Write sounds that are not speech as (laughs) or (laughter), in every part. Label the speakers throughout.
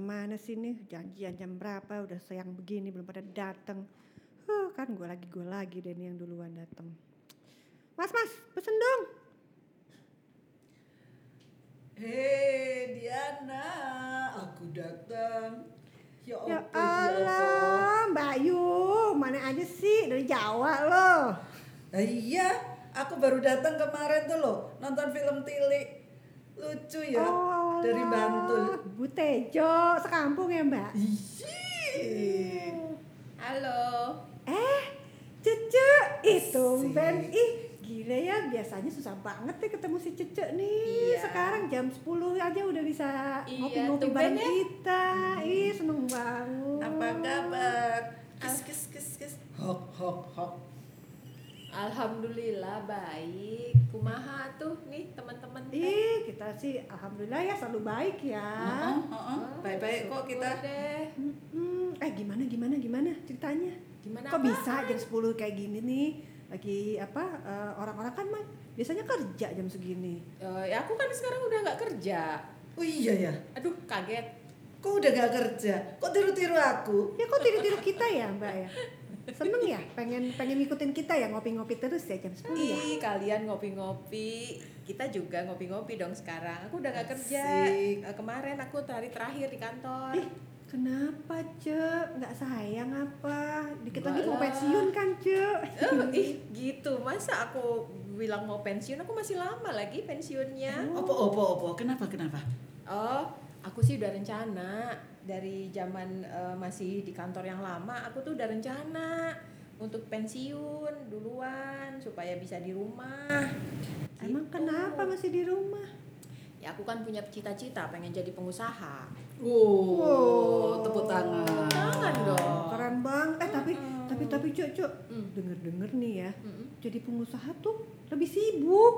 Speaker 1: mana sih nih janjian jam berapa udah sayang begini belum pada dateng. Huh, kan gue lagi gue lagi deh nih yang duluan dateng. Mas mas pesen dong.
Speaker 2: Hei Diana, aku datang. Ya,
Speaker 1: Ya
Speaker 2: ampun, Diana.
Speaker 1: Allah Mbak Yu mana aja sih dari Jawa loh.
Speaker 2: Lah iya, aku baru datang kemarin tuh loh, nonton film Tilik. Lucu ya,
Speaker 1: Oh,
Speaker 2: dari
Speaker 1: Allah.
Speaker 2: Bantul.
Speaker 1: Butejo sekampung ya Mbak.
Speaker 2: Ih.
Speaker 3: Halo.
Speaker 1: Eh, Cece, itu
Speaker 2: Asik.
Speaker 1: Ben. Ih, gila ya, biasanya susah banget ya ketemu si Cece nih.
Speaker 3: Iya.
Speaker 1: Sekarang jam 10 aja udah bisa
Speaker 3: Iya,
Speaker 1: ngopi-ngopi
Speaker 3: tumben
Speaker 1: bareng
Speaker 3: ya.
Speaker 1: kita. Ih, seneng banget.
Speaker 2: Apa kabar? Kis kis kis kis. Hok hok hok.
Speaker 3: Alhamdulillah baik. Kumaha tuh nih teman-teman. teh?
Speaker 1: Ih, kita sih alhamdulillah ya selalu baik ya.
Speaker 2: Heeh, heeh.
Speaker 3: Oh,
Speaker 2: Baik-baik kok
Speaker 3: syukur
Speaker 2: kita.
Speaker 3: deh.
Speaker 1: Mm-mm. Eh, gimana gimana gimana ceritanya?
Speaker 3: Gimana
Speaker 1: Kok
Speaker 3: apa?
Speaker 1: bisa jam 10 kayak gini nih? Lagi apa eh, orang-orang kan mah biasanya kerja jam segini.
Speaker 3: Eh, ya aku kan sekarang udah nggak kerja.
Speaker 2: Oh iya ya,
Speaker 3: Aduh kaget.
Speaker 2: kok udah gak kerja? Kok tiru-tiru aku?
Speaker 1: Ya kok tiru-tiru kita ya mbak ya? Seneng ya? Pengen pengen ngikutin kita ya ngopi-ngopi terus ya jam 10
Speaker 2: Oh, iya.
Speaker 1: ya?
Speaker 3: Ih kalian ngopi-ngopi. Kita juga ngopi-ngopi dong sekarang. Aku udah nggak kerja.
Speaker 2: Asik.
Speaker 3: Eh, kemarin aku hari terakhir di kantor.
Speaker 1: Ih kenapa Ce? Nggak sayang apa? Dikit lagi
Speaker 3: Nggak
Speaker 1: mau
Speaker 3: lah.
Speaker 1: pensiun kan Ce? (laughs)
Speaker 3: Eh, ih gitu masa aku bilang mau pensiun aku masih lama lagi pensiunnya.
Speaker 1: Oh.
Speaker 2: Opo opo opo. Kenapa kenapa?
Speaker 3: Oh, aku sih udah rencana dari zaman eh, masih di kantor yang lama, aku tuh udah rencana untuk pensiun duluan supaya bisa di rumah.
Speaker 1: Emang
Speaker 3: Gitu.
Speaker 1: kenapa masih di rumah?
Speaker 3: Ya aku kan punya cita-cita pengen jadi pengusaha.
Speaker 1: Wow.
Speaker 2: tepuk tangan.
Speaker 3: Tepuk tangan dong.
Speaker 1: Keren banget. Eh tapi
Speaker 3: Mm-mm.
Speaker 1: tapi tapi Ce Ce
Speaker 3: Mm.
Speaker 1: denger-denger nih ya.
Speaker 3: Mm-mm.
Speaker 1: Jadi pengusaha tuh lebih sibuk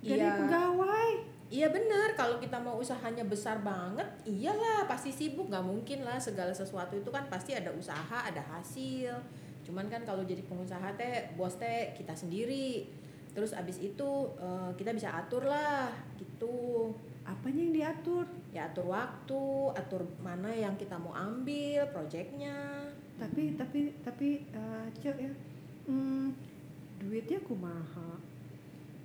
Speaker 1: dari
Speaker 3: Iya.
Speaker 1: pegawai.
Speaker 3: Iya bener, kalau kita mau usahanya besar banget, iyalah pasti sibuk, nggak mungkin lah segala sesuatu itu kan pasti ada usaha, ada hasil. Cuman kan kalau jadi pengusaha teh, bos teh kita sendiri. Terus abis itu eh, kita bisa atur lah, gitu.
Speaker 1: Apanya yang diatur?
Speaker 3: Ya atur waktu, atur mana yang kita mau ambil, proyeknya.
Speaker 1: tapi tapi tapi eh, cek ya hmm, duitnya kumaha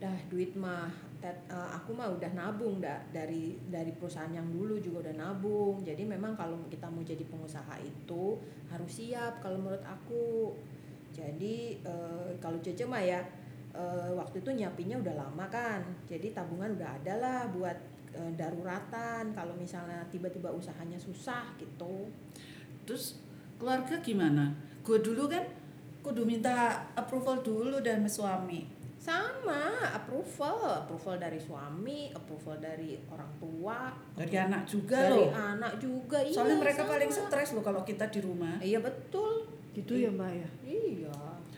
Speaker 3: Dah duit mah, Tet, eh, aku mah udah nabung dah dari dari perusahaan yang dulu juga udah nabung. Jadi memang kalau kita mau jadi pengusaha itu harus siap kalau menurut aku. Jadi eh, kalau Cece mah ya eh, waktu itu nyiapinnya udah lama kan. Jadi tabungan udah ada lah buat eh, daruratan kalau misalnya tiba-tiba usahanya susah gitu.
Speaker 2: Terus keluarga gimana? Gue dulu kan kudu minta approval dulu dan suami.
Speaker 3: Sama approval, approval dari suami, approval dari orang tua,
Speaker 2: Dari anak juga
Speaker 3: dari
Speaker 2: loh.
Speaker 3: anak juga. iya,
Speaker 2: Soalnya mereka
Speaker 3: sama.
Speaker 2: paling stres loh kalau kita di rumah.
Speaker 3: Iya betul.
Speaker 1: gitu ya mbak ya
Speaker 3: Iya.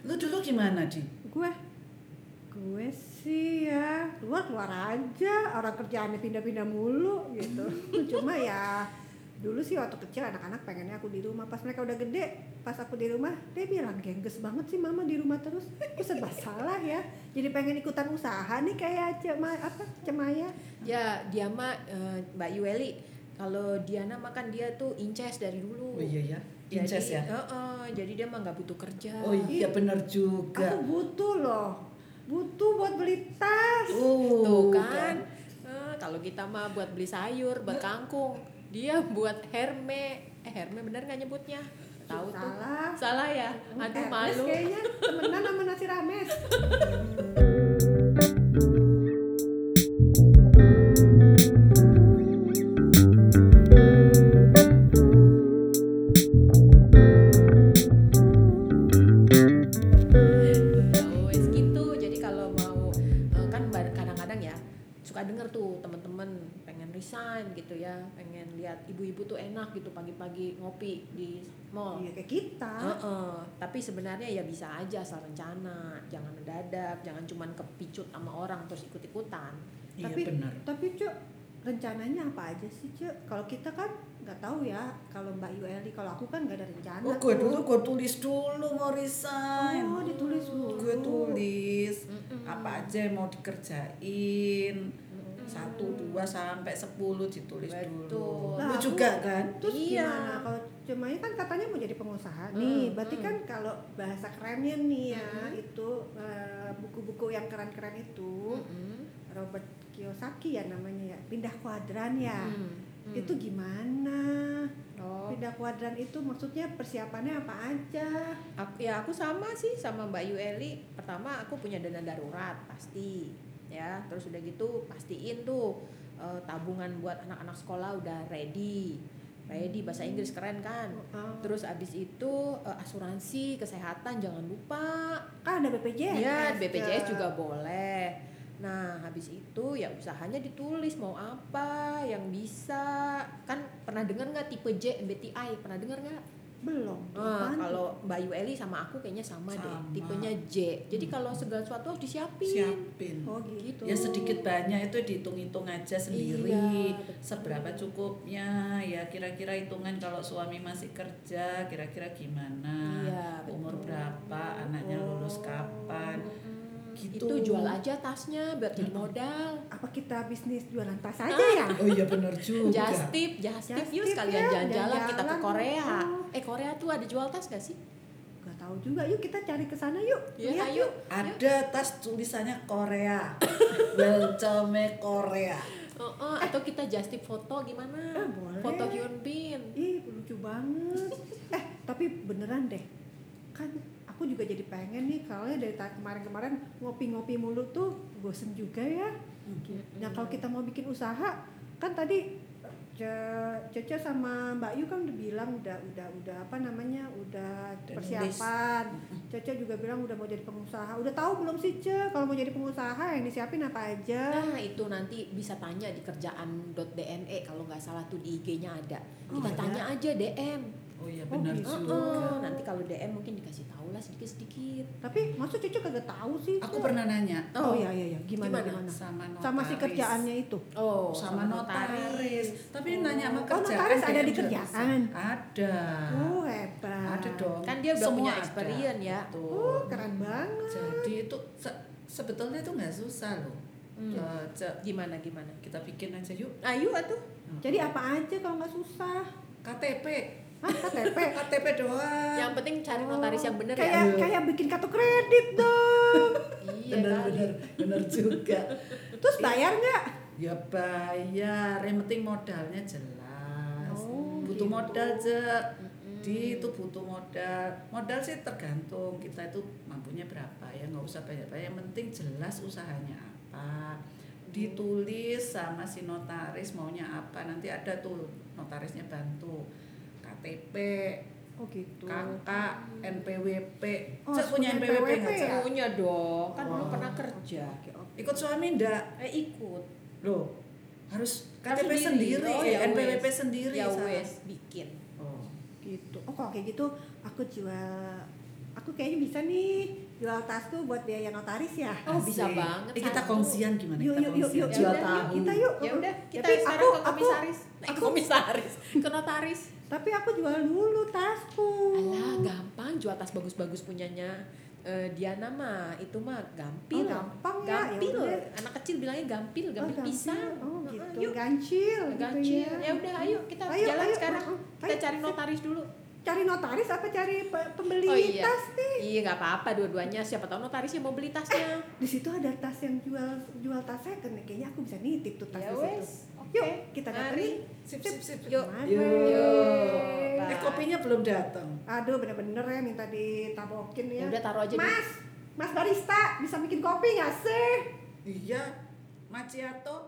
Speaker 2: Lu dulu gimana, Di?
Speaker 1: gue gue sih ya keluar keluar aja orang kerjaannya pindah-pindah mulu gitu cuma ya dulu sih waktu kecil anak-anak pengennya aku di rumah pas mereka udah gede pas aku di rumah dia bilang gengges banget sih mama di rumah terus aku serba salah ya jadi pengen ikutan usaha nih kayak cema apa cemaya
Speaker 3: Ya dia mah eh, Mbak Yueli kalau Diana makan dia tuh inces dari dulu.
Speaker 2: iya ya.
Speaker 3: Jadi,
Speaker 2: Incest ya.
Speaker 3: eh-eh, jadi dia mah nggak butuh kerja.
Speaker 2: Oh iya bener
Speaker 1: aku
Speaker 2: juga.
Speaker 1: butuh loh butuh buat beli tas
Speaker 2: Oh,
Speaker 3: Tuh kan. Eh, kalau kita mah buat beli sayur, buat kangkung, dia buat herme. Eh herme bener nggak nyebutnya? Tahu tuh.
Speaker 1: Salah.
Speaker 3: Salah ya. Aduh
Speaker 1: Ernest
Speaker 3: malu.
Speaker 1: kayaknya temenan sama nasi rames
Speaker 3: Ya wes gitu. Jadi kalau mau eh, kan ba- kadang-kadang ya suka denger tuh temen-temen pengen resign gitu ya, pengen lihat ibu-ibu tuh enak gitu pagi-pagi ngopi di mall.
Speaker 1: iya kayak kita
Speaker 3: Oh. Heeh. tapi sebenarnya ya bisa aja asal rencana, jangan mendadak, jangan cuman kepicut sama orang terus ikut-ikutan.
Speaker 2: Iya
Speaker 1: tapi
Speaker 2: bener.
Speaker 1: tapi cuk rencananya apa aja sih cuk kalau kita kan nggak tahu ya kalau mbak Yueli kalau aku kan nggak ada rencana
Speaker 2: Oh, gue
Speaker 1: tuh.
Speaker 2: dulu gue tulis dulu mau resign.
Speaker 1: Oh, ditulis dulu.
Speaker 2: Gue tulis
Speaker 3: Mm-mm.
Speaker 2: apa aja yang mau dikerjain.
Speaker 3: Mm-mm.
Speaker 2: satu dua sampai sepuluh ditulis dulu
Speaker 3: Betul.
Speaker 2: lu
Speaker 1: Nah, aku-
Speaker 2: juga kan
Speaker 1: Terus
Speaker 3: Iya.
Speaker 1: gimana kalau cuma ini kan katanya mau jadi pengusaha
Speaker 3: Hmm,
Speaker 1: nih, berarti
Speaker 3: hmm.
Speaker 1: kan kalau bahasa kerennya nih ya
Speaker 3: Hmm.
Speaker 1: itu eh, buku-buku yang keren-keren itu Robert Kiyosaki ya namanya ya pindah kuadran ya
Speaker 3: Hmm.
Speaker 1: itu gimana
Speaker 3: oh
Speaker 1: pindah kuadran itu maksudnya persiapannya apa aja
Speaker 3: Aku- ya aku sama sih sama Mbak Yueli. Pertama aku punya dana darurat pasti, ya. Terus udah gitu pastiin tuh eh, tabungan buat anak-anak sekolah udah ready, ready bahasa Inggris keren kan.
Speaker 1: Oh,
Speaker 3: Terus abis itu eh, asuransi kesehatan jangan lupa.
Speaker 1: kan ada BPJS
Speaker 3: Ya BPJS juga boleh. Nah habis itu ya usahanya ditulis mau apa yang bisa kan pernah dengar nggak tipe J MBTI pernah dengar nggak?
Speaker 1: belum
Speaker 3: Ah,
Speaker 1: apaan tuh?
Speaker 3: kalau Mbak Yu Eli sama aku kayaknya sama, deh,
Speaker 2: Sama.
Speaker 3: tipenya J. Jadi
Speaker 2: Hmm.
Speaker 3: kalau segala sesuatu harus disiapin.
Speaker 2: siapin
Speaker 1: oh gitu
Speaker 2: ya sedikit banyak itu dihitung-hitung aja sendiri
Speaker 3: Iya, betul.
Speaker 2: seberapa cukupnya ya kira-kira hitungan kalau suami masih kerja kira-kira gimana
Speaker 3: Iya,
Speaker 2: umur
Speaker 3: betul. Oh.
Speaker 2: berapa anaknya lulus kapan
Speaker 3: Mm-mm.
Speaker 2: Gitu.
Speaker 3: Hmm, Itu jual aja tasnya biar jadi
Speaker 1: Gitu.
Speaker 2: Mm-mm.
Speaker 3: modal.
Speaker 1: apa kita bisnis jualan tas
Speaker 3: Ah.
Speaker 1: aja ya
Speaker 2: oh iya bener juga
Speaker 3: Just tip, just tip,
Speaker 1: Just
Speaker 3: yuk
Speaker 1: tip
Speaker 3: sekalian
Speaker 1: ya,
Speaker 3: jalan-jalan kita ke
Speaker 1: jalan-jalan.
Speaker 3: Korea.
Speaker 1: Oh.
Speaker 3: Eh Korea tuh ada jual tas gak sih?
Speaker 1: nggak tahu juga yuk kita cari ke sana yuk
Speaker 3: Iya,
Speaker 1: Lihat
Speaker 3: ayo.
Speaker 2: ada tas tulisannya Korea welcome Korea
Speaker 3: Oh, oh, atau kita just tip foto gimana?
Speaker 1: Ah, Eh. boleh. Iya.
Speaker 3: Foto Hyun Bin.
Speaker 1: Ih, lucu banget. (laughs) eh, tapi beneran deh. Kan aku juga jadi pengen nih kalau dari ta- kemarin-kemarin ngopi-ngopi mulu tuh bosen juga ya. Nah, kalau kita mau bikin usaha, kan tadi Ce- Cece sama Mbak Yu kan udah bilang udah udah udah apa namanya? udah
Speaker 2: Udah
Speaker 1: persiapan. Cece juga bilang udah mau jadi pengusaha. Udah tahu belum sih, Ce? Kalau mau jadi pengusaha yang disiapin apa aja?
Speaker 3: Nah itu nanti bisa tanya di kerjaan.dne kalau nggak salah tuh di IG-nya ada.
Speaker 2: Oh,
Speaker 3: Kita
Speaker 2: ada.
Speaker 3: tanya aja DM.
Speaker 2: oh iya
Speaker 1: Oh,
Speaker 2: bener
Speaker 1: gitu.
Speaker 2: juga
Speaker 3: Heeh, nanti kalau DM mungkin dikasih tahu lah sedikit-sedikit.
Speaker 1: Tapi maksud Cece kagak tahu sih. Ce?
Speaker 2: aku pernah nanya
Speaker 1: Oh, iya iya iya. Gimana
Speaker 3: Gimana?
Speaker 1: gimana?
Speaker 2: sama notaris.
Speaker 1: Sama si kerjaannya itu.
Speaker 3: Oh,
Speaker 2: sama notaris tapi
Speaker 3: Oh.
Speaker 2: nanya sama
Speaker 1: Oh,
Speaker 2: kerjaan
Speaker 1: notaris ada
Speaker 2: DM
Speaker 1: di
Speaker 2: juga
Speaker 1: kerjaan?
Speaker 2: bisa. ada
Speaker 1: Oh hebat.
Speaker 2: Nah. ada dong
Speaker 3: Kan dia udah
Speaker 2: Semua
Speaker 3: punya
Speaker 2: ada.
Speaker 3: experience ya.
Speaker 2: Betul.
Speaker 1: Oh keren banget.
Speaker 2: jadi itu se- sebetulnya itu nggak susah loh
Speaker 3: Hmm.
Speaker 2: Eh, Ce,
Speaker 3: Gimana gimana?
Speaker 2: kita bikin aja yuk Nah,
Speaker 3: Ayo atuh.
Speaker 1: Jadi apa aja kalau nggak susah?
Speaker 2: KTP
Speaker 1: Hah, KTP.
Speaker 2: KTP doang
Speaker 3: Yang penting cari notaris yang bener ya.
Speaker 1: kayak kayak bikin kartu kredit dong.
Speaker 3: Iya
Speaker 2: bener
Speaker 3: kali.
Speaker 2: bener bener juga
Speaker 1: Terus bayar nggak?
Speaker 2: ya bayar yang penting modalnya jelas
Speaker 1: Oh,
Speaker 2: butuh
Speaker 1: gitu.
Speaker 2: modal Cek.
Speaker 3: Mm-mm.
Speaker 2: di itu butuh modal modal sih tergantung kita itu mampunya berapa ya nggak usah banyak banyak yang penting jelas usahanya apa ditulis sama si notaris maunya apa nanti ada tuh notarisnya bantu KTP
Speaker 1: Oh gitu.
Speaker 3: Kan
Speaker 2: KK NPWP
Speaker 1: Oh,
Speaker 2: Cek punya
Speaker 1: punya
Speaker 2: NPWP nggak
Speaker 1: NPWP
Speaker 2: Cek?
Speaker 1: ya?
Speaker 3: Punya dong. Kan dulu
Speaker 2: Wah.
Speaker 3: pernah kerja.
Speaker 1: Oke oke.
Speaker 2: ikut suami ndak
Speaker 3: Eh ikut.
Speaker 2: loh harus
Speaker 3: Kan
Speaker 2: KTP sendiri,
Speaker 3: sendiri. Oh,
Speaker 2: eh,
Speaker 3: ya
Speaker 2: NPWP
Speaker 3: wes.
Speaker 2: sendiri
Speaker 3: Ya
Speaker 2: salah.
Speaker 3: wes bikin.
Speaker 2: Oh.
Speaker 1: Gitu. Oh kalau kayak gitu aku jual. Aku kayaknya bisa nih jual tasku buat biaya notaris ya.
Speaker 3: Oh, bisa
Speaker 2: Asik.
Speaker 3: banget,
Speaker 2: Eh, kita
Speaker 3: satu.
Speaker 2: kongsian gimana?
Speaker 1: Yuk
Speaker 2: kita
Speaker 1: yuk yuk yuk.
Speaker 2: kongsian.
Speaker 3: Jual
Speaker 1: yuk,
Speaker 3: tahu.
Speaker 1: Kita yuk.
Speaker 3: Ya udah kita
Speaker 1: Tapi
Speaker 3: sekarang
Speaker 1: aku
Speaker 3: ke
Speaker 1: aku
Speaker 3: komisaris. Eh,
Speaker 1: aku-
Speaker 3: komisaris.
Speaker 1: (laughs)
Speaker 3: Ke notaris.
Speaker 1: tapi aku jual dulu tasku.
Speaker 3: Alah gampang jual tas bagus-bagus punyanya eh, Diana mah itu mah gampil.
Speaker 1: Oh, gampang ya,
Speaker 3: Gampil.
Speaker 1: ya udah.
Speaker 3: Anak kecil bilangnya gampil,
Speaker 1: Oh,
Speaker 3: gampil pisang.
Speaker 1: Oh
Speaker 3: Heeh,
Speaker 1: gitu.
Speaker 3: Yuk.
Speaker 1: Gancil. gitu
Speaker 3: Gancil.
Speaker 1: ya.
Speaker 3: Ya udah ayo kita
Speaker 1: Ayo,
Speaker 3: jalan
Speaker 1: ayo,
Speaker 3: sekarang.
Speaker 1: ayo,
Speaker 3: Kita
Speaker 1: ayo.
Speaker 3: cari notaris dulu.
Speaker 1: cari notaris apa cari pe- pembeli
Speaker 3: Oh, iya.
Speaker 1: tas nih
Speaker 3: Iya nggak apa-apa dua-duanya. Siapa tahu notarisnya mau beli tasnya.
Speaker 1: di situ ada tas yang jual jual tas second nih. kayaknya aku bisa nitip tuh tas
Speaker 3: ya
Speaker 1: di situ
Speaker 3: wes.
Speaker 1: yuk
Speaker 3: Oke.
Speaker 1: kita datengin
Speaker 3: Mari.
Speaker 2: Sip, sip, sip.
Speaker 3: Yuk.
Speaker 1: Mari.
Speaker 2: Yuk.
Speaker 3: Bye.
Speaker 2: Eh, kopinya belum datang.
Speaker 1: aduh bener-bener ya minta ditabokin ya
Speaker 3: Ya udah taruh aja dulu.
Speaker 1: mas mas barista bisa bikin kopi nggak sih
Speaker 2: Iya. Macchiato.